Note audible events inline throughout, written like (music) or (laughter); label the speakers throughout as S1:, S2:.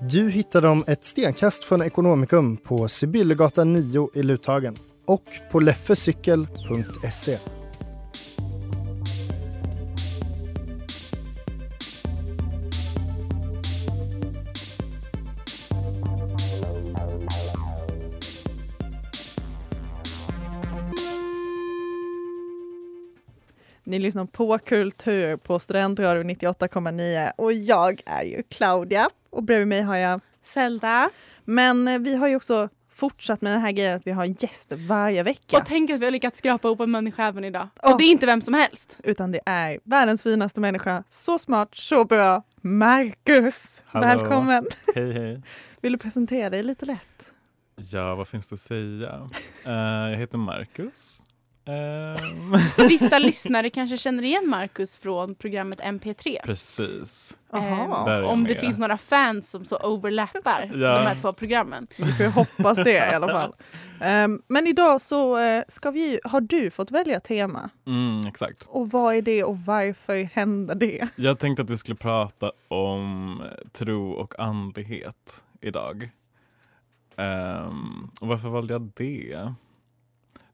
S1: Du hittar dem ett stenkast från Ekonomikum på Sibyllegatan 9 i Luthagen och på leffecykel.se.
S2: Ni lyssnar på Kultur på Studentradion 98,9 och jag är ju Claudia och bredvid mig har jag
S3: Zelda.
S2: Men eh, vi har ju också fortsatt med den här grejen att vi har en gäst varje vecka.
S3: Och tänk att vi har lyckats skrapa ihop en människa även idag.
S2: Åh.
S3: Och det är inte vem som helst.
S2: Utan det är världens finaste människa, så smart, så bra, Marcus!
S4: Hallå.
S2: Välkommen!
S4: Hej hej.
S2: Vill du presentera dig lite lätt?
S4: Ja, vad finns det att säga? Eh, jag heter Marcus. Ehm,
S3: Vissa lyssnare kanske känner igen Marcus från programmet MP3.
S4: (laughs) precis.
S3: Ehm,
S4: Där är jag
S3: om det
S4: med.
S3: finns några fans som så overlappar
S4: Ja.
S3: de här två programmen.
S2: Vi får ju hoppas det i alla fall. Ehm, men idag så eh, ska vi, ju- har du fått välja tema.
S4: Mm, exakt.
S2: Och vad är det och varför händer det?
S4: Jag tänkte att vi skulle prata om tro och andlighet idag. Ehm, och varför valde jag det?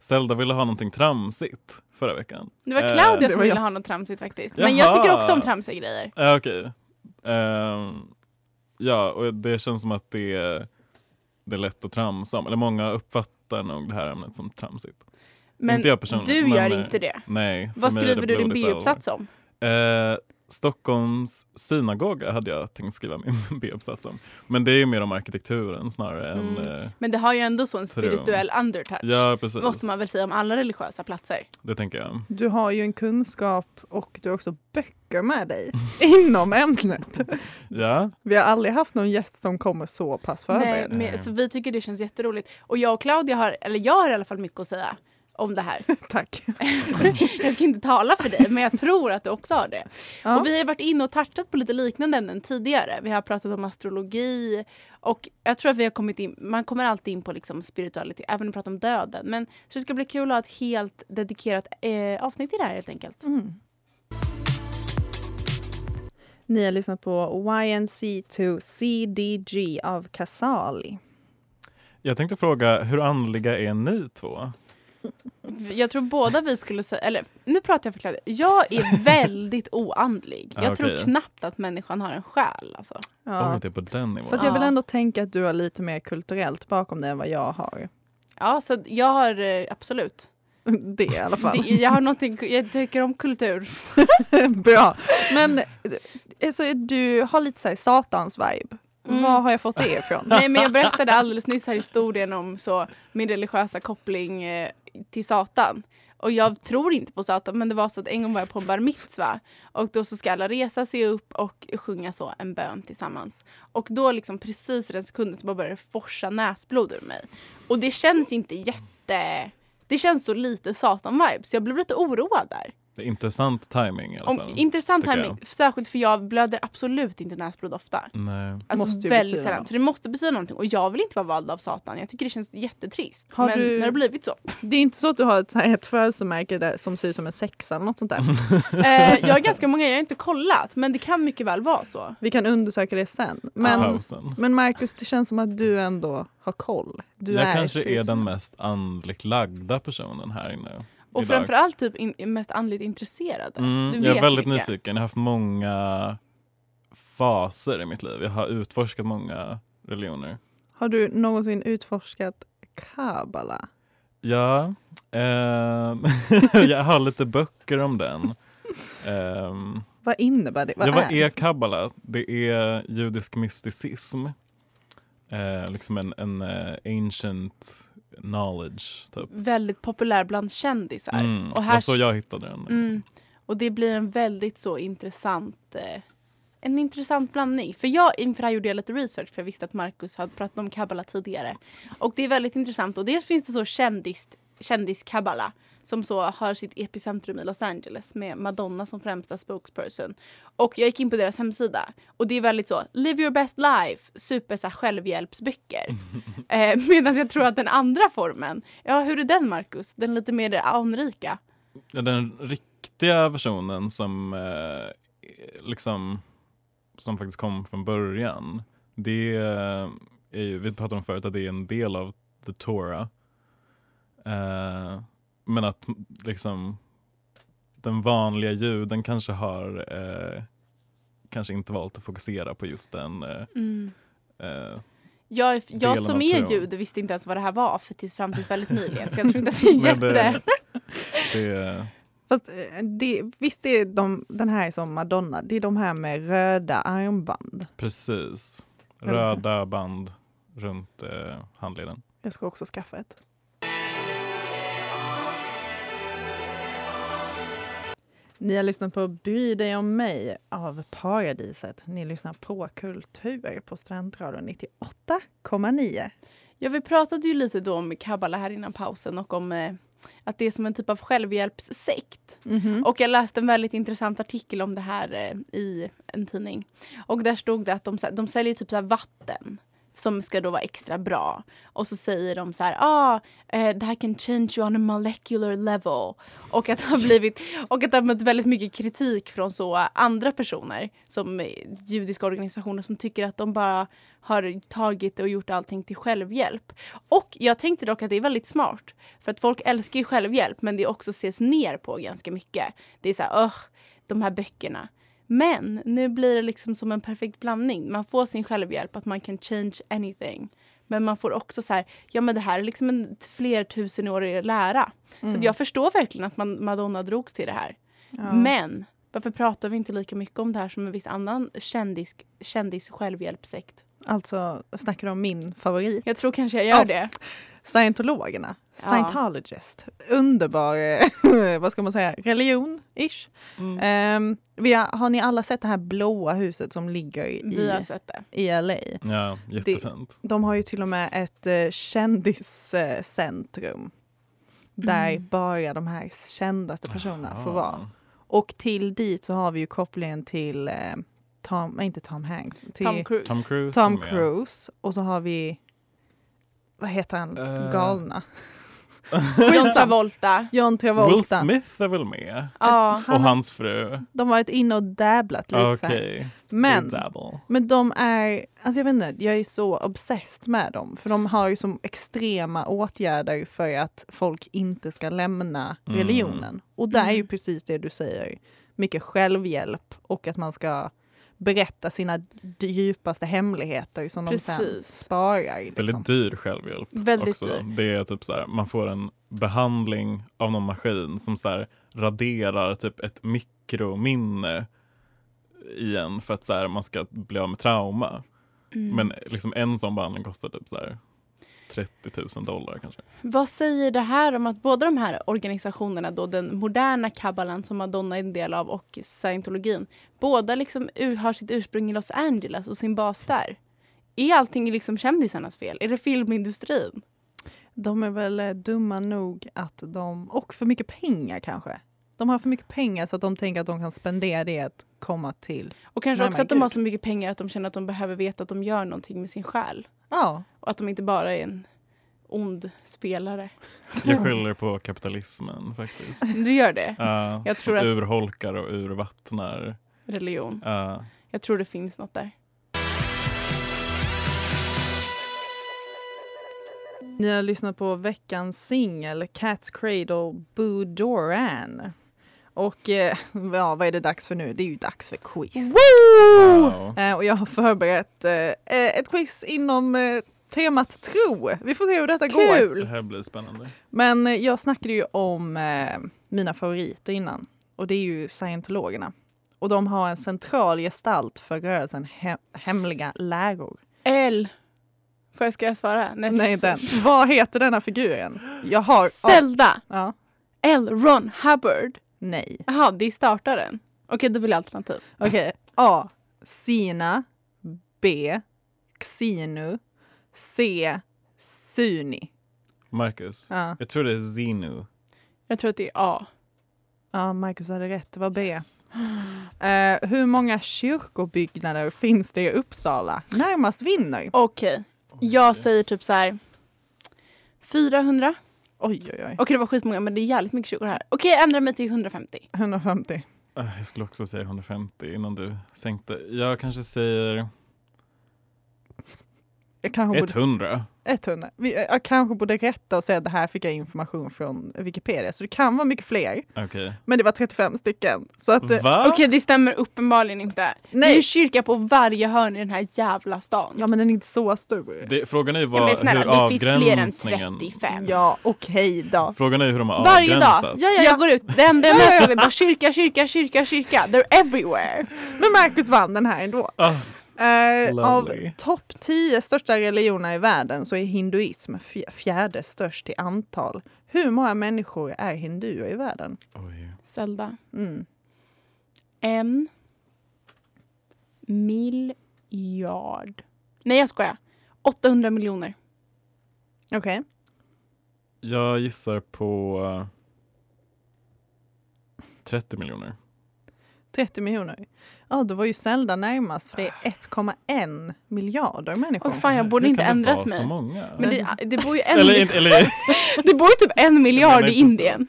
S4: Zelda ville ha någonting tramsigt förra veckan.
S3: Det var
S4: Eh,
S3: Claudia
S2: det
S3: som
S2: var
S3: ville
S2: jag.
S3: ha något tramsigt faktiskt. Men jag
S4: Jaha.
S3: tycker också om tramsiga grejer.
S4: Ja, okej. Ehm, ja, och det känns som att det är, det är lätt att tramsa om. Eller många uppfattar nog det här ämnet som tramsigt.
S3: Men
S4: Inte jag personligen,
S3: du
S4: men,
S3: gör
S4: eh,
S3: inte det.
S4: Nej. för
S3: Vad
S4: mig är
S3: skriver
S4: det
S3: du din
S4: blodigt allvar.
S3: B-uppsats om?
S4: Eh, Stockholms synagoga hade jag tänkt skriva min (laughs) B-uppsats om. Men det är ju mer om arkitekturen snarare än...
S3: Mm.
S4: Eh,
S3: Men det har ju ändå så en
S4: Tro.
S3: spirituell undertouch.
S4: ja, precis.
S3: Måste man väl säga om alla religiösa platser.
S4: Det tänker jag.
S2: Du har ju en kunskap och du har också böcker med dig (laughs) inom ämnet.
S4: Ja,
S2: Vi har aldrig haft någon gäst som kommer så pass
S3: Nej,
S2: förberedd.
S3: men, så vi tycker det känns jätteroligt. Och jag och Claudia har, eller jag har i alla fall mycket att säga om det här.
S2: (laughs) Tack.
S3: (laughs) Jag ska inte tala för dig, men jag tror att du också har det.
S2: Ja.
S3: Och vi har varit inne och touchat på lite liknande ämnen tidigare. Vi har pratat om astrologi och jag tror att vi har kommit in, man kommer alltid in på liksom spiritualitet, även när vi pratar om döden. Men så det ska bli kul att ha ett helt dedikerat eh, avsnitt i det här helt enkelt.
S2: Mm. Ni har lyssnat på YNC2 CDG av Casali.
S4: jag tänkte fråga, hur andliga är ni två?
S3: Jag tror båda vi skulle säga, eller nu pratar jag för Claudia. Jag
S4: (laughs)
S3: är väldigt oandlig.
S4: Ah,
S3: Jag tror
S4: okej.
S3: knappt att människan har en själ alltså.
S4: Oj, det är på den nivån.
S2: Fast jag vill
S3: Ja.
S2: ändå tänka att du har lite mer kulturellt bakom dig än vad jag har. (laughs)
S3: Ja, så jag har eh, absolut.
S2: Det i alla fall.
S3: Det, jag har någonting, jag tycker om kultur.
S2: (laughs) Bra. Men
S4: Mm.
S2: eh, så är du har lite så här satans vibe.
S3: Mm.
S2: Var har jag fått det ifrån?
S3: Nej men jag berättade alldeles nyss här historien om så, min religiösa koppling eh, till Satan. Och jag tror inte på Satan men det var så att en gång var jag på en bar mitzva och då så ska alla resa sig upp och sjunga så en bön tillsammans. Och då liksom precis i den sekunden så bara började det forsa näsblod ur mig. Och det känns inte jätte... Det känns så lite Satan-vibe så jag blev lite oroad där.
S4: Det är intressant timing i alla
S3: Om,
S4: fall.
S3: intressant
S4: tycker
S3: timing, särskilt för jag blöder absolut inte näsblod ofta.
S4: Nej.
S3: Alltså
S2: Måste ju
S3: väldigt
S2: betyda
S3: sällan.
S2: något.
S3: Så det måste betyda någonting. Och jag vill inte vara vald av Satan. Jag tycker det känns jättetrist.
S2: Har
S3: Men
S2: du-
S3: när det har blivit
S2: (laughs)
S3: så.
S2: (laughs) Det är inte så att du har ett, så här, ett födelsemärke där, som ser ut som en sexa eller något sånt där.
S3: eh, jag har ganska många, jag har inte kollat. Men det kan mycket väl vara så.
S2: Vi kan undersöka det sen. Men,
S4: Pausen.
S2: men Marcus, det känns som att du ändå har koll. Du
S4: jag
S2: är
S4: kanske är
S2: spirituell.
S4: den mest andligt lagda personen här inne.
S3: Och
S4: idag.
S3: framförallt typ in, mest andligt intresserade.
S4: Mm,
S3: Du
S4: jag är
S3: vet
S4: väldigt
S3: mycket.
S4: nyfiken. Jag har haft många faser i mitt liv. Jag har utforskat många religioner.
S2: Har du någonsin utforskat kabbala?
S4: Ja, ehm, (laughs) jag har lite böcker om den. Ehm,
S2: Vad innebär det? Vad
S4: ja, vad
S2: det?
S4: är kabbala? Det är judisk mysticism. Eh, liksom en, en eh, ancient knowledge, typ.
S3: Väldigt populär bland kändisar.
S4: Mm.
S3: Och
S4: Och
S3: här-
S4: här... så jag hittade den.
S3: Mm. Och det blir en väldigt så intressant eh, en intressant blandning. För jag inför det här gjorde jag lite research för jag visste att Marcus hade pratat om kabbala tidigare. Och det är väldigt intressant. Och dels finns det så kändis, kändiskabbala som så har sitt epicentrum i Los Angeles med Madonna som främsta spokesperson. Och jag gick in på deras hemsida och det är väldigt så live your best life, super så här, självhjälpsböcker. eh, Medan jag tror att den andra formen, ja hur är den Marcus? Den lite mer anrika?
S4: Ja, den riktiga versionen som eh, liksom som faktiskt kom från början. Det eh, är ju, vi pratade om förut att det är en del av the Torah. Eh, men att liksom den vanliga juden kanske har eh, kanske inte valt att fokusera på just den. Eh,
S3: Mm.
S4: eh,
S3: Jag,
S4: delen
S3: jag som
S4: av
S3: är
S4: tron.
S3: jude visste inte ens vad det här var för tills fram tills väldigt nyligen.
S4: (laughs)
S3: Så jag tror inte att det är
S4: men eh,
S3: jätte...
S4: det, det,
S2: Fast eh, det, visst är de, den här är som Madonna, det är de här med röda armband.
S4: precis.
S2: Eller-
S4: Röda band runt eh, handleden.
S2: Jag ska också skaffa ett. Ni har lyssnat på Bry dig om mig av Paradiset. Ni lyssnar på Kultur på Strandradion 98,9.
S3: Ja, vi pratade ju lite då om kabbala här innan pausen och om eh, att det är som en typ av självhjälpssekt. Och jag läste en väldigt intressant artikel om det här eh, i en tidning. Och där stod det att de, sä- de säljer typ så här vatten som ska då vara extra bra. Och så säger de så här, ah, eh, det här kan change you on a molecular level. Och att det har blivit, och att det har mött väldigt mycket kritik från så eh, andra personer som eh, judiska organisationer som tycker att de bara har tagit och gjort allting till självhjälp. Och jag tänkte dock att det är väldigt smart. För att folk älskar ju självhjälp men det också ses ner på ganska mycket. Det är så här, "Ugh, de här böckerna. Men nu blir det liksom som en perfekt blandning. Man får sin självhjälp, att man kan change anything. Men man får också så här, ja men det här är liksom en flertusenårig lära. Så att jag förstår verkligen att man, Madonna drogs till det här.
S2: Ja.
S3: Men varför pratar vi inte lika mycket om det här som en viss annan kändis, kändis självhjälpssekt?
S2: Alltså, snackar du om min favorit?
S3: Jag tror kanske jag gör
S2: Ja.
S3: det.
S2: Scientologerna,
S3: Ja.
S2: Scientologist. Underbar, eh, (laughs) vad ska man säga, religion-ish.
S4: Mm.
S2: Ehm, vi har, har ni alla sett det här blåa huset som ligger
S3: Vi har
S2: i,
S3: sett det.
S2: i LA?
S4: Ja, jättefint.
S2: De har ju till och med ett eh, kändiscentrum där
S3: Mm.
S2: bara de här kändaste personerna får vara.
S4: Ah.
S2: Och till dit så har vi ju kopplingen till eh, Tom, nej, inte Tom Hanks, till
S3: Tom
S2: Tom,
S3: Cruise.
S4: Tom Cruise. som är-
S2: Cruise och så har vi, vad heter han,
S4: Eh.
S2: galna?
S3: John Travolta.
S2: John
S4: Will
S2: Travolta.
S4: Smith är väl med?
S3: Ja.
S2: Han-
S4: och hans fru.
S2: De har varit inne och dabblat lite så här.
S4: Okej.
S2: Men, Liksom.
S4: The Dabble.
S2: men de är, alltså jag vet inte, jag är så obsessed med dem. För de har ju som extrema åtgärder för att folk inte ska lämna
S4: Mm.
S2: religionen. Och det är ju
S3: Mm.
S2: precis det du säger, mycket självhjälp och att man ska berätta sina djupaste hemligheter som de sen
S3: Precis.
S2: sparar. Liksom.
S4: Väldigt dyr självhjälp
S3: Väldigt
S4: också.
S3: dyr.
S4: Det är typ så här, man får en behandling av någon maskin som så här, raderar typ ett mikrominne igen för att så här, man ska bli av med trauma.
S3: Mm.
S4: Men liksom en sån behandling kostar typ så här 30 000 dollar
S2: (laughs)
S4: kanske.
S3: Vad säger det här om att båda de här organisationerna, då den moderna kabbalan som Madonna är en del av och scientologin, båda liksom u- har sitt ursprung i Los Angeles och sin bas där? Är allting liksom kändisarnas fel? Är det filmindustrin?
S2: De är väl eh, dumma nog att de, och för mycket pengar kanske. De har för mycket pengar så att de tänker att de kan spendera det att komma till,
S3: Och kanske
S2: Nej,
S3: också
S2: men
S3: att de har
S2: gud.
S3: så mycket pengar att de känner att de behöver veta att de gör någonting med sin själ.
S2: ja,
S3: Och att de inte bara är en ond spelare.
S4: Jag skyller på kapitalismen
S2: (laughs)
S4: faktiskt.
S3: Du gör det?
S4: Uh,
S3: Jag tror att
S4: Urholkar och urvattnar.
S3: religion.
S4: eh,
S3: Jag tror det finns något där.
S2: Ni har lyssnat på veckans singel Cats Cradle Boo Doran. Och eh, ja, vad är det dags för nu? Det är ju dags för quiz.
S4: wow.
S2: Eh, och jag har förberett eh, eh, ett quiz inom eh, temat tro. Vi får se hur detta går.
S4: Det
S3: Kul!
S4: här blir spännande.
S2: Men eh, jag snackade ju om eh, mina favoriter innan och det är ju scientologerna. Och de har en central gestalt för rörelsen he- Hemliga läror.
S3: L. Får jag, ska jag svara?
S2: Nej, den. Vad heter denna figuren? Jag har...
S3: Zelda.
S2: ja.
S3: L. Ron Hubbard.
S2: Nej.
S3: Jaha, det är startaren. Okej, då vill jag alternativ.
S2: Okej. A. Sina. B. Xinu. C. Suni.
S4: Marcus,
S2: Ja,
S4: jag tror det är Zinu.
S3: Jag tror att det är A.
S2: ja Marcus hade rätt. Det var B. Eh, hur många kyrkobyggnader finns det i Uppsala? Närmast vinner.
S3: Okej. Jag säger typ så här 400.
S2: Oj, oj, oj.
S3: Okej, det var skitmånga, men det är jävligt mycket kyrkor här. Okej, jag ändrar mig till 150.
S2: 150.
S4: Eh, Jag skulle också säga 150 innan du sänkte. Jag kanske säger
S2: Jag kanske, borde,
S4: 100.
S2: 100. Vi- eh, Jag jag kanske borde rätta och säga att det här fick jag information från Wikipedia. Så det kan vara mycket fler.
S4: Okej.
S2: Men det var 35 stycken. Så att, eh,
S4: Va?
S3: Okej, det stämmer uppenbarligen inte. Det är ju
S2: nej.
S3: kyrka på varje hörn i den här jävla stan.
S2: Ja, men den är inte så stor.
S4: Det, frågan är ju
S3: Ja,
S4: vad,
S3: men snälla,
S4: hur
S3: det finns fler än
S4: avgränsningen...
S3: 35.
S2: Ja, okej då.
S4: Frågan är ju hur de har
S3: Varje
S4: avgränsat.
S3: dag. Ja, ja, jag går ut. Det enda (laughs) jag möter är bara kyrka, kyrka, kyrka, kyrka. They're everywhere.
S2: Men Marcus vann den här ändå.
S4: Ah,
S2: Eh, av
S4: lovely.
S2: topp 10 största religioner i världen så är hinduism fj- fjärde störst i antal. Hur många människor är hinduer i världen?
S4: Oj.
S3: Zelda.
S2: Mm.
S3: En miljard. Nej, jag skojar. 800 miljoner.
S2: Okej.
S4: Jag gissar på eh, 30 miljoner.
S2: 30 miljoner. Ja, då var ju Zelda närmast för det är 1,1 miljarder människor.
S3: Och fan, jag borde
S4: Hur
S3: inte
S4: kan det
S3: ändrat
S4: vara så
S3: mig.
S4: många?
S3: Men det, det
S4: (laughs)
S3: bor ju en,
S4: Eller, inte- eller
S3: det bor ju typ en miljard
S4: menar
S3: i
S4: inte så.
S3: Indien.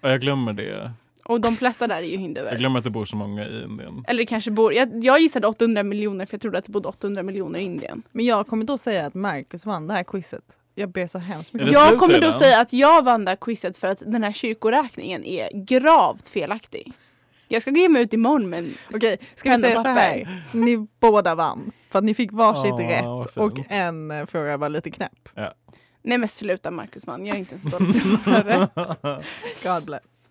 S4: ja, jag glömmer det.
S3: Och de flesta där är ju
S4: Jag
S3: hinduer.
S4: glömmer att det bor så många i Indien.
S3: Eller det kanske bor... Jag, jag gissade 800 miljoner för jag trodde att det bodde 800 miljoner i Indien.
S2: Men jag kommer då säga att Marcus vann det här quizet. Jag ber så hemskt
S4: Är det
S2: mycket.
S4: så?
S2: Ja.
S3: Jag
S4: slut
S3: kommer då
S4: redan?
S3: säga att jag vann det här quizet för att den här kyrkoräkningen är gravt felaktig. Jag ska ge mig ut imorgon men
S2: Okej, ska vi
S3: Penna
S2: säga
S3: och
S2: så
S3: papper.
S2: här? Ni båda vann. För att ni fick varsitt
S4: Ja, Ah, vad
S2: rätt
S4: fint.
S2: och en eh, fråga var lite knäpp.
S3: (laughs) Nej men sluta Marcus man, jag är inte så dålig.
S2: God bless.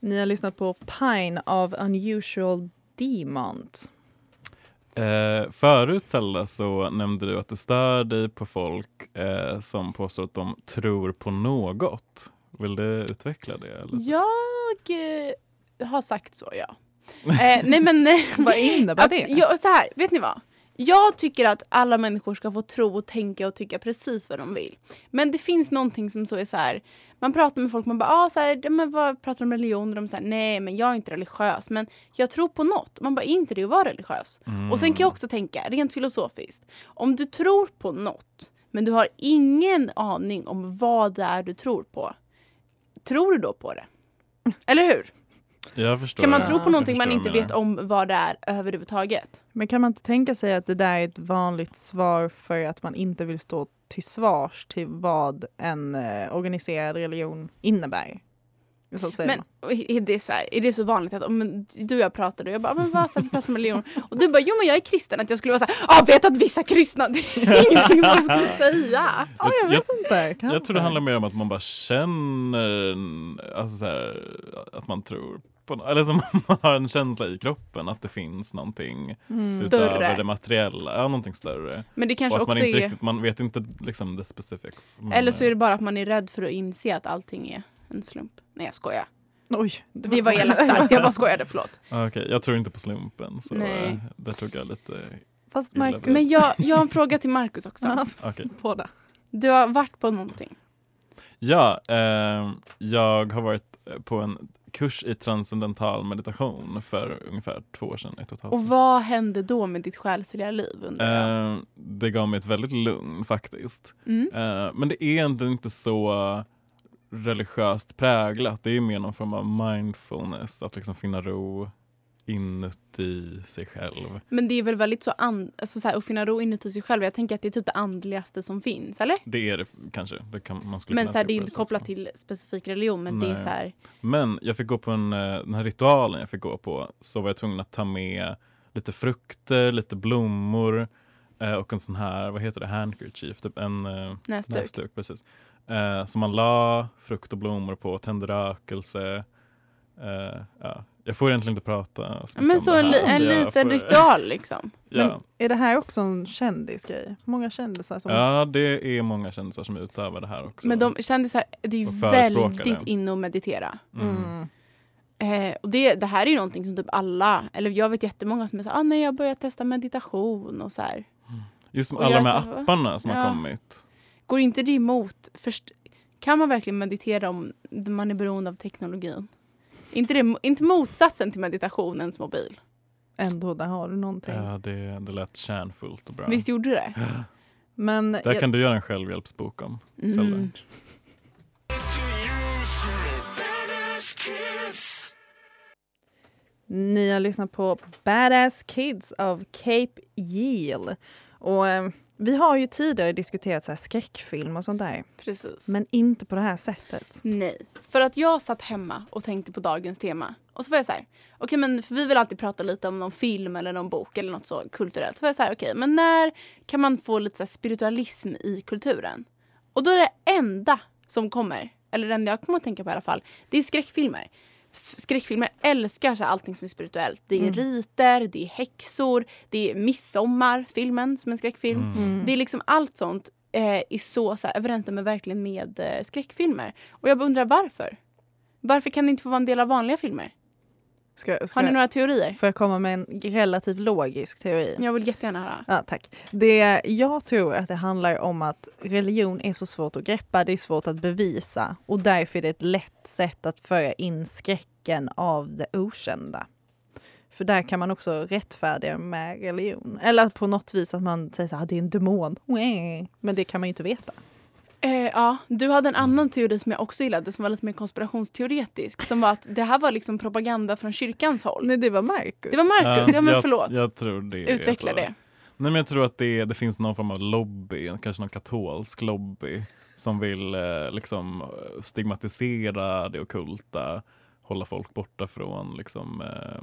S2: Ni har lyssnat på Pine av Unusual Demons.
S4: (laughs) Eh, förut Zelda så nämnde du att du stör dig på folk eh, som påstår att de tror på något. Vill du utveckla det? Eller?
S3: jag eh, har sagt så ja. Eh, nej men... eh,
S2: (laughs) Vad innebär det?
S3: abs- Jag, så här, vet ni vad? Jag tycker att alla människor ska få tro och tänka och tycka precis vad de vill. Men det finns någonting som så är så här, man pratar med folk, man bara, ah, så här, ja, men vad pratar de om religion? Och de säger, nej men jag är inte religiös, men jag tror på något. Man bara, är inte det att vara religiös?
S4: Mm.
S3: Och sen kan jag också tänka, rent filosofiskt, om du tror på något, men du har ingen aning om vad det är du tror på, tror du då på det? Eller hur?
S4: Jag förstår.
S3: Kan man
S4: det.
S3: tro på
S4: Jag
S3: någonting
S4: förstår
S3: man
S4: vad
S3: inte
S4: du menar.
S3: vet om (laughs) vad det är överhuvudtaget?
S2: Men kan man inte tänka sig att det där är ett vanligt svar för att man inte vill stå till svars till vad en eh, organiserad religion innebär? Så att säga.
S3: Men är det, så här, är det så vanligt att om en- du och jag pratade och jag bara men vad så här, vi pratar om religion och du bara jo men jag är kristen att jag skulle vara så här, ah, vet att vissa kristna (laughs) det
S4: (laughs)
S3: är ingenting man skulle säga.
S2: ja, jag
S4: jag-
S2: vet inte. Kanske.
S4: Jag tror det handlar mer om att man bara känner en- alltså så här, att man tror på no- eller som (laughs) man har en känsla i kroppen att det finns någonting
S2: Mm.
S4: utöver
S3: Mm. Större.
S4: det materiella, ja, någonting större.
S3: Men det kanske
S4: och att man
S3: också
S4: inte
S3: är,
S4: riktigt, man vet inte liksom the specifics. Men,
S3: eller så är det bara att man är rädd för att inse att allting är en slump. Nej jag skojar.
S2: Oj,
S3: Det var elakt
S2: (laughs)
S3: sagt, jag bara skojade
S4: (laughs)
S3: förlåt.
S4: eh, Okej, jag tror inte på slumpen så
S3: Nej.
S4: eh, där tog jag lite,
S2: Fast
S4: Gillar
S2: Marcus...
S4: vi.
S3: Men jag, jag har en fråga till Markus
S2: Ja,
S3: också.
S4: okej.
S2: (laughs) båda.
S3: Du har varit på någonting.
S4: Ja, eh, jag har varit eh, på en kurs i transcendental meditation för ungefär två år sedan. Ett och ett halvt
S3: Och vad hände då med ditt själsliga liv undrar jag?
S4: Eh, det gav mig ett väldigt lugn faktiskt.
S3: Mm.
S4: Eh, men det är ändå inte så eh, religiöst präglat. Det är mer någon form av mindfulness, att liksom finna ro inuti sig själv.
S3: Men det är väl väldigt så, and- alltså så här, att finna ro inuti sig själv. Jag tänker att det är typ det andligaste som finns, eller?
S4: Det är det kanske. Det kan, man skulle
S3: Men
S4: kunna
S3: så här,
S4: se
S3: det är
S4: på
S3: inte
S4: så
S3: kopplat
S4: också.
S3: till specifik religion, men det är
S4: Nej.
S3: så här...
S4: Men jag fick gå på en, eh, den här ritualen jag fick gå på så var jag tvungen att ta med lite frukter, lite blommor eh, och en sån här, vad heter det, handkerchief, typ en eh,
S3: Näsduk.
S4: näsduk. Precis. Eh, som man la frukt och blommor på, tände rökelse. Eh, ja. Jag får egentligen inte prata mycket
S3: Men
S4: om
S3: så
S4: det
S3: en,
S4: här,
S3: li- en
S4: Alltså,
S3: liten
S4: jag får-
S3: ritual liksom.
S4: (laughs) Ja.
S2: Men Är det här också en kändisgrej? Många kändisar som...
S4: ja, det är många kändisar som utövar det här också.
S3: mm. Men de kändisar, det är ju
S4: Och förespråkar
S3: väldigt
S4: det.
S3: inne att meditera.
S4: Mm.
S2: Mm.
S3: Eh, och det, det här är ju någonting som typ alla, eller jag vet jättemånga som är så ah, nej jag börjar testa meditation och så här.
S4: Just som
S3: Och
S4: alla
S3: jag
S4: de
S3: sa,
S4: här
S3: va?
S4: apparna som
S3: Ja.
S4: har kommit.
S3: Går inte det emot, först, kan man verkligen meditera om man är beroende av teknologin? Inte, det, inte motsatsen till meditation, ens mobil.
S2: Ändå, där har du någonting.
S4: Ja, eh, det, det lät kärnfullt och bra.
S3: Visst gjorde det?
S2: Men
S4: Där
S2: jag-
S4: kan du göra en självhjälpsbok om. Zelda.
S3: Mm.
S2: Ni har lyssnat på Badass Kids av Cape Yeal. Och eh, vi har ju tidigare diskuterat så här skräckfilm och sånt där,
S3: Precis.
S2: men inte på det här sättet.
S3: Nej. För att jag satt hemma och tänkte på dagens tema. Och så var jag så här, okej men för vi vill alltid prata lite om någon film eller någon bok eller något så kulturellt. Så var jag så här, okej men när kan man få lite så här spiritualism i kulturen? Och då är det enda som kommer, eller den jag kommer att tänka på i alla fall, det är skräckfilmer. F- Skräckfilmer älskar så här allting som är spirituellt. Det är riter, det är häxor, det är midsommar, filmen som är en skräckfilm.
S4: Mm.
S3: Det är liksom allt sånt eh, är så, så här, överensstämmer verkligen med eh, skräckfilmer. Och jag bara undrar varför? Varför kan det inte få vara en del av vanliga filmer?
S2: Ska, ska
S3: Har ni
S2: jag-
S3: några teorier?
S2: Får jag komma med en relativt logisk teori?
S3: Jag vill jättegärna höra.
S2: Ja, tack. Det, jag tror att det handlar om att religion är så svårt att greppa, det är svårt att bevisa och därför är det ett lätt sätt att föra in skräcken av det okända. För där kan man också rättfärdiga med religion. Eller på något vis att man säger så här, "Ah, det är en demon. Wah." Men det kan man ju inte veta.
S3: Eh, ja, du hade en annan teori som jag också gillade som var lite mer konspirationsteoretisk. Som var att det här var liksom propaganda från kyrkans håll.
S2: Nej, det var Marcus.
S3: Det var Markus, ja, men
S4: Eh, Ah, jag,
S3: förlåt.
S4: Jag tror det är
S3: Utveckla
S4: så.
S3: det.
S4: Nej, men jag tror att det, det finns någon form av lobby, kanske någon katolsk lobby som vill eh, liksom, eh, stigmatisera det ockulta, hålla folk borta från liksom, eh,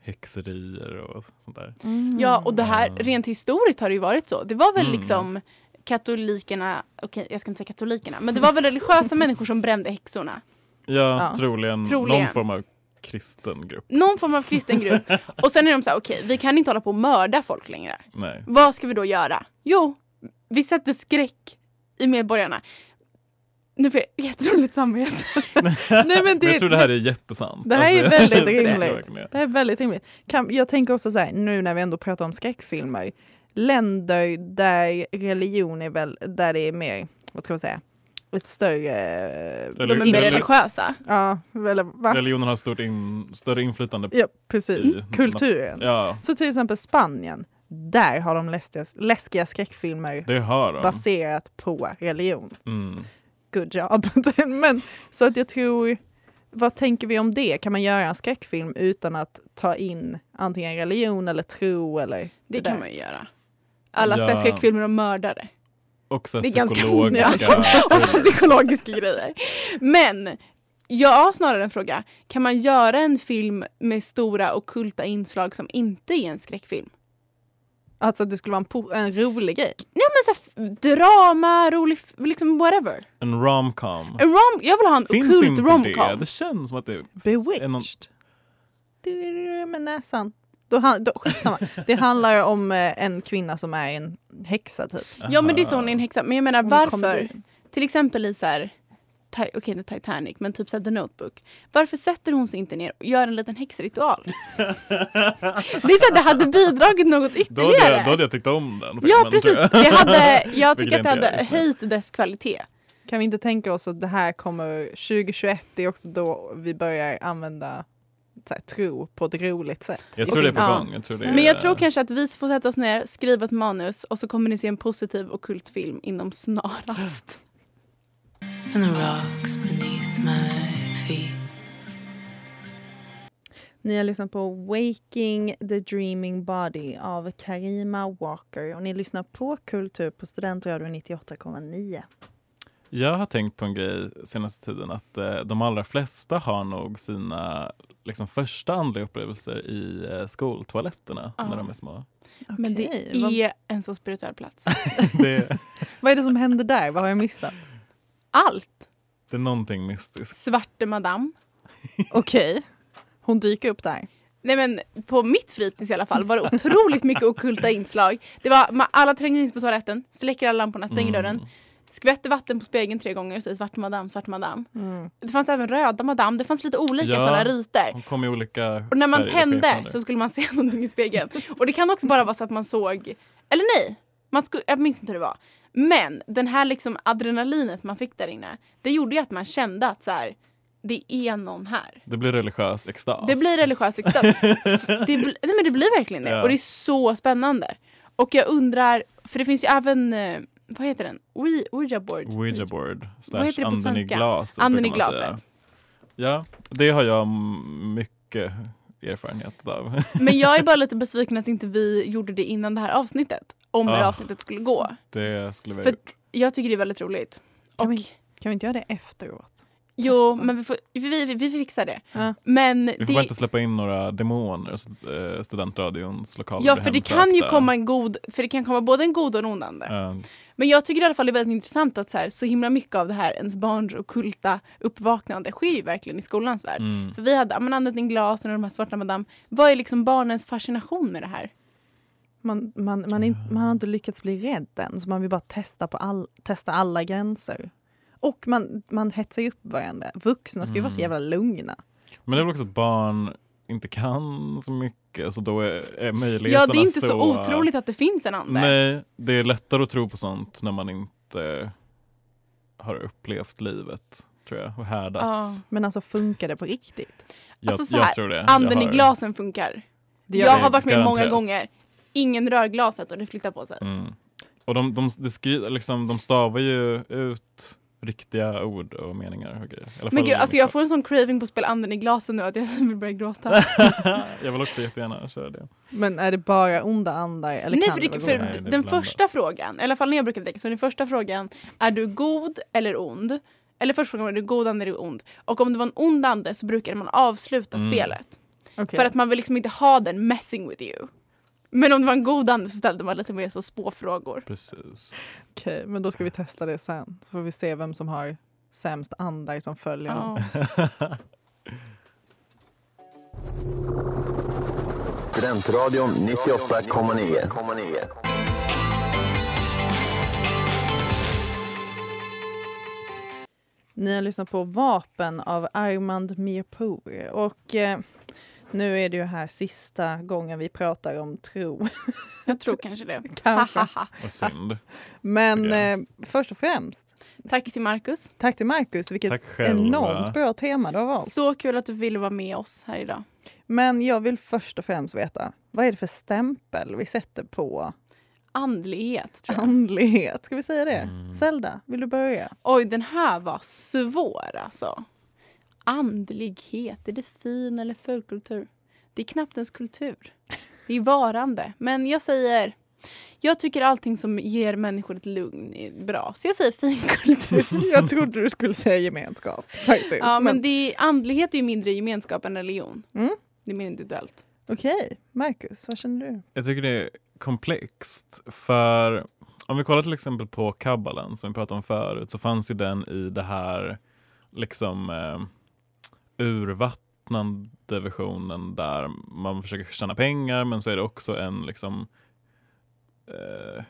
S4: häxerier och sånt där.
S3: Ja, och det här,
S4: Mm.
S3: rent historiskt har det ju varit så. Det var väl
S4: Mm.
S3: liksom katolikerna, okej jag ska inte säga katolikerna, men det var väl religiösa människor som brände häxorna.
S4: Ja,
S2: Ja.
S4: Troligen,
S3: Troligen.
S4: någon form av
S2: (laughs)
S4: kristen grupp.
S3: Någon form av kristen grupp. Och sen är de så här, okej vi kan inte hålla på och mörda folk längre.
S4: Nej.
S3: Vad ska vi då göra? Jo, vi sätter skräck i medborgarna. Nu får jag jätteroligt samvete.
S2: Nej, men
S4: (laughs) Men
S2: det,
S4: jag tror det här är jättesant.
S2: Det här är
S4: jag-
S2: väldigt
S4: jag tror
S2: rimligt.
S4: verkligen (laughs) det.
S2: Det är väldigt rimligt. Kan, jag tänker också så här, nu när vi ändå pratar om skräckfilmer, länder där religion är väl, där det är mer, vad ska man säga, ett större...
S4: Reli-
S3: De är mer
S4: Reli-
S3: religiösa.
S2: ja, eller va?
S4: Religionen har stort in, större inflytande.
S2: Ja, precis. Mm.
S4: I-
S2: Kulturen.
S4: Ja,
S2: Så till exempel Spanien, där har de läskiga, läskiga skräckfilmer
S4: det har de.
S2: baserat på religion.
S4: Mm.
S2: Good job! (laughs) Men, så att jag tror, vad tänker vi om det? Kan man göra en skräckfilm utan att ta in antingen religion eller tro eller
S3: Det
S2: där?
S3: kan man ju göra. Alla
S4: Ja.
S3: skräckfilmer om mördare.
S4: Och så här
S3: Det är ganska
S4: (laughs) psykologiska... Alltså,
S3: onödigt. (laughs) Alltså, Och så psykologiska grejer. Men jag har snarare en fråga. Kan man göra en film med stora ockulta inslag som inte är en skräckfilm?
S2: Alltså att det skulle vara en, po- en rolig grej.
S3: Men så här, f- drama, rolig, f- liksom whatever.
S4: En romcom.
S3: En rom, jag vill ha en
S4: Finns
S3: ockult
S4: inte det?
S3: romcom.
S4: Det känns som att det...
S2: Bewitched.
S4: Är någon-
S2: Du med näsan. Då, han- då, skitsamma. det handlar om eh, en kvinna som är en häxa typ.
S3: Ja men det
S4: Ah.
S3: är så hon är en
S4: (laughs)
S3: häxa. Men jag menar
S2: Hon kommer
S3: varför?
S2: dit.
S3: Till exempel i så här, Ti- okej inte Titanic men typ så här The Notebook. Varför sätter hon sig inte ner och gör en liten häxritual? det är så här, det hade bidragit något
S4: Då hade,
S3: ytterligare.
S4: jag, då hade jag tyckt om den.
S3: Ja
S4: filmen,
S3: precis,
S4: tror jag.
S3: det hade, jag tycker
S4: Vilket
S3: att det hade
S4: inte är just nu.
S3: höjt dess kvalitet.
S2: Kan vi inte tänka oss att det här kommer 2021, det är också då vi börjar använda så här, tro på ett roligt sätt.
S4: (laughs) Jag tror det är på
S2: Ja.
S4: gång. Jag tror det är,
S3: Men jag tror kanske att vi får sätta oss ner, skriva ett manus och så kommer ni se en positiv och kult film inom snarast.
S2: Ni har lyssnat på Waking the Dreaming Body av Karima Walker och ni lyssnar på Kultur på Studentradion 98,9.
S4: Jag har tänkt på en grej senaste tiden att eh, de allra flesta har nog sina liksom första andliga upplevelser i eh, skoltoaletterna
S3: Ja.
S4: när de är små.
S3: Men det
S2: (gasps) Okej, vad,
S3: är en så spirituell plats.
S4: Det,
S2: vad är det som händer där? Vad har jag missat?
S3: Allt!
S4: det är någonting mystiskt.
S3: Svarte madam.
S2: Okej, hon dyker upp där.
S3: Nej men på mitt fritids i alla fall var det otroligt mycket okulta inslag. Det var, ma- alla tränger in på toaletten, släcker alla lamporna,
S4: Mm.
S3: stänger dörren, skvätter vatten på spegeln tre gånger och säger svart madam, svart madam. Det fanns även röda madam, det fanns lite olika
S4: Ja.
S3: sådana riter.
S4: Hon kom i olika
S3: Och när man
S4: färger och
S3: tände
S4: skepnader.
S3: så skulle man se (laughs) någonting i spegeln. Och det kan också bara vara så att man såg, eller nej, man sku, jag minns inte hur det var. Men den här liksom adrenalinet man fick där inne, det gjorde ju att man kände att så här, det är någon här.
S4: Det blir religiös extas.
S3: Det
S4: (laughs)
S3: blir religiös extas. det, bl- nej, men det blir verkligen det.
S4: Ja.
S3: Och det är så spännande. Och jag undrar, för det finns ju även, eh, vad heter den? Ouija- Ouija board.
S4: Ouija board.
S3: Vad heter det
S4: Slash
S3: på
S4: anden i
S3: svenska?
S4: glaset.
S3: Anden i
S4: brukar man säga.
S3: glaset.
S4: Ja, det har jag m- mycket erfarenhet av. (laughs)
S3: Men jag är bara lite besviken att inte vi gjorde det innan det här avsnittet. Om det här
S4: Ah.
S3: avsnittet skulle gå.
S4: Det skulle vi
S3: För att jag tycker det är väldigt roligt.
S2: Kan
S3: Och,
S2: vi, kan vi inte göra det efteråt?
S3: jo,
S2: testa?
S3: men vi, får, vi, vi, vi fixar det.
S2: Ja.
S3: Men
S4: Vi får bara
S3: det,
S4: inte släppa in några demoner så- eh, studentradions lokaler
S3: ja,
S4: blir
S3: för det
S4: hemsökta.
S3: kan ju komma en god, för det kan komma både en god och en ondande.
S4: Eh,
S3: Men jag tycker i alla fall det är väldigt intressant att så, här, så himla mycket av det här ens barns okulta uppvaknande sker ju verkligen i skolans värld.
S4: mm.
S3: För vi hade ja, men andet in glas och de här svarta madam. Vad är liksom barnens fascination med det här?
S2: Man, man, man, är in, man har inte lyckats bli rädd än, så man vill bara testa, på all, testa alla gränser. Och man, man hetsar ju upp varandra. Vuxna ska ju vara så
S4: Mm.
S2: jävla lugna.
S4: Men det är väl också att barn inte kan så mycket så då är, är möjligheterna
S3: Ja, det är inte så,
S4: så
S3: otroligt att det finns en ande.
S4: Nej, det är lättare att tro på sånt när man inte har upplevt livet tror jag och härdats.
S3: Ja.
S2: Men alltså funkar det på riktigt?
S4: Jag,
S3: Alltså så
S4: jag
S3: här,
S4: tror det.
S3: Anden
S4: jag
S3: i glasen funkar.
S2: Det
S3: jag
S4: det
S3: har varit med många
S4: garanterat.
S3: gånger. Ingen rör glaset och det flyttar på sig.
S4: Mm. Och de, de, de, skri, liksom, de stavar ju ut riktiga ord och meningar och grejer. I alla
S3: Men
S4: fall-
S3: gud, alltså jag får en sån craving på att spela anden i glasen nu att jag (laughs) vill börja gråta.
S4: (laughs) jag vill också jättegärna köra det.
S2: Men är det bara onda andar? Eller
S3: Nej,
S2: kan
S3: för,
S2: det
S3: det,
S2: vara
S3: för
S2: goda?
S4: Nej, det är
S3: den
S4: blandat.
S3: första frågan, i alla fall när jag brukar tänka, så den första frågan, är du god eller ond? Eller första frågan, är du god eller är du ond? Och om det var en ond ande så brukade man avsluta
S4: Mm.
S3: spelet.
S2: Okej.
S3: För att man vill liksom inte ha den messing with you. Men om det var en god ande så ställde man lite mer så spåfrågor.
S4: Precis.
S2: Okej, men då ska vi testa det sen. Så får vi se vem som har sämst andar som följer honom.
S3: Ja.
S5: Studentradion 98,9.
S2: Ni har lyssnat på Vapen av Armand Mirpour. Och eh, nu är det ju här sista gången vi pratar om tro.
S3: (laughs) Jag tror kanske det.
S2: Kanske.
S4: Vad synd.
S2: Men
S4: Tycker
S2: eh, först och främst,
S3: Tack till Marcus.
S2: tack till Marcus. Vilket
S4: Tack själv.
S2: enormt bra tema du har valt.
S3: Så kul att du ville vara med oss här idag.
S2: Men jag vill först och främst veta, vad är det för stämpel vi sätter på
S3: Andlighet, tror jag.
S2: andlighet? Ska vi säga det?
S4: Mm.
S2: Zelda, vill du
S4: (laughs)
S2: börja?
S3: Oj, den här var svår alltså. Andlighet, är det fin eller fulkultur? Det är knappt ens kultur. Det är varande. Men jag säger... Jag tycker allting som ger människor ett lugn är bra. Så jag säger finkultur.
S2: jag trodde du skulle säga gemenskap. Faktiskt.
S3: Ja, men det är, andlighet är ju mindre gemenskap än religion.
S2: Mm.
S3: Det är mer individuellt.
S2: Okej, Marcus, vad känner du?
S4: Jag tycker det är komplext. För om vi kollar till exempel på kabbalan som vi pratade om förut så fanns ju den i det här liksom eh, urvattnande versionen där man försöker tjäna pengar men så är det också en liksom eh,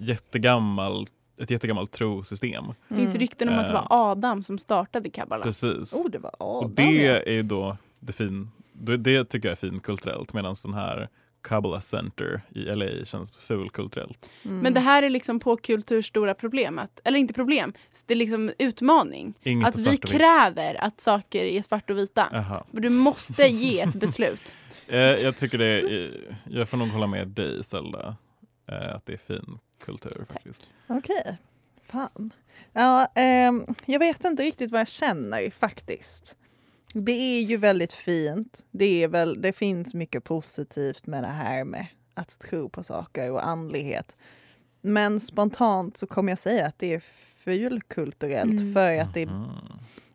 S4: jättegammal, ett jättegammalt trosystem.
S3: Det
S2: Mm.
S3: finns rykten om att det var
S4: Eh.
S3: Adam som startade Kabbala.
S4: Precis.
S2: Oh, det var
S4: Och
S2: Adam.
S4: det
S2: ja.
S4: är ju då det fin, det- det tycker jag är finkulturellt medan den här Kabbalah Center i LA känns fulkulturellt.
S2: Mm.
S3: Men det här är liksom på kulturs stora problemet. Eller inte problem, det är liksom utmaning.
S4: Inget
S3: att
S4: är
S3: Alltså, vi
S4: svart och vitt.
S3: kräver att saker är svart och vita.
S4: Aha.
S3: Men Du måste ge ett
S4: (laughs)
S3: beslut.
S4: Eh, jag tycker det är, jag får nog hålla med dig Zelda, eh, att det är fin kultur faktiskt.
S2: Okej. Fan. Ja, ehm, jag vet inte riktigt vad jag känner faktiskt. Det är ju väldigt fint. Det, är väl, det finns mycket positivt med det här med att tro på saker och andlighet. Men spontant så kommer jag säga att det är fulkulturellt
S3: Mm.
S2: för att det är
S4: Mhm.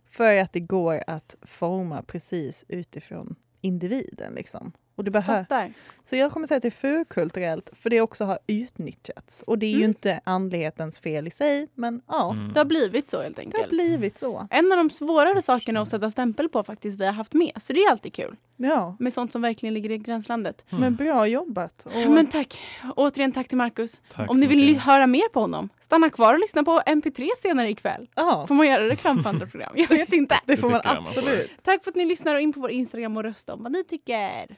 S2: För att det går att forma precis utifrån individen. Liksom. Och det behö-
S4: Mm.
S3: Fattar.
S2: så jag kommer säga att det är furkulturellt, för det också har utnyttjats. Och det är ju
S3: Mm.
S2: inte andlighetens fel i sig, men ja,
S4: Mm.
S3: Det har blivit så helt
S2: det har
S3: enkelt.
S2: blivit så.
S3: en av de svårare sakerna att sätta stämpel på faktiskt vi har haft med. Så det är alltid kul.
S2: Ja,
S3: Med sånt som verkligen ligger i gränslandet.
S4: Mm.
S2: men bra jobbat. Och
S3: Men tack. Återigen tack till Marcus.
S4: Tack
S3: Om ni
S4: så
S3: vill
S4: mycket.
S3: höra mer på honom, stanna kvar och lyssna på MP3 senare ikväll.
S2: ja,
S3: Får man göra reklam för andra program? Jag vet inte.
S2: Oh. (laughs) det får man
S4: tycker jag man får.
S2: absolut.
S3: Tack för att ni lyssnar och in på vår Instagram och rösta om vad ni tycker.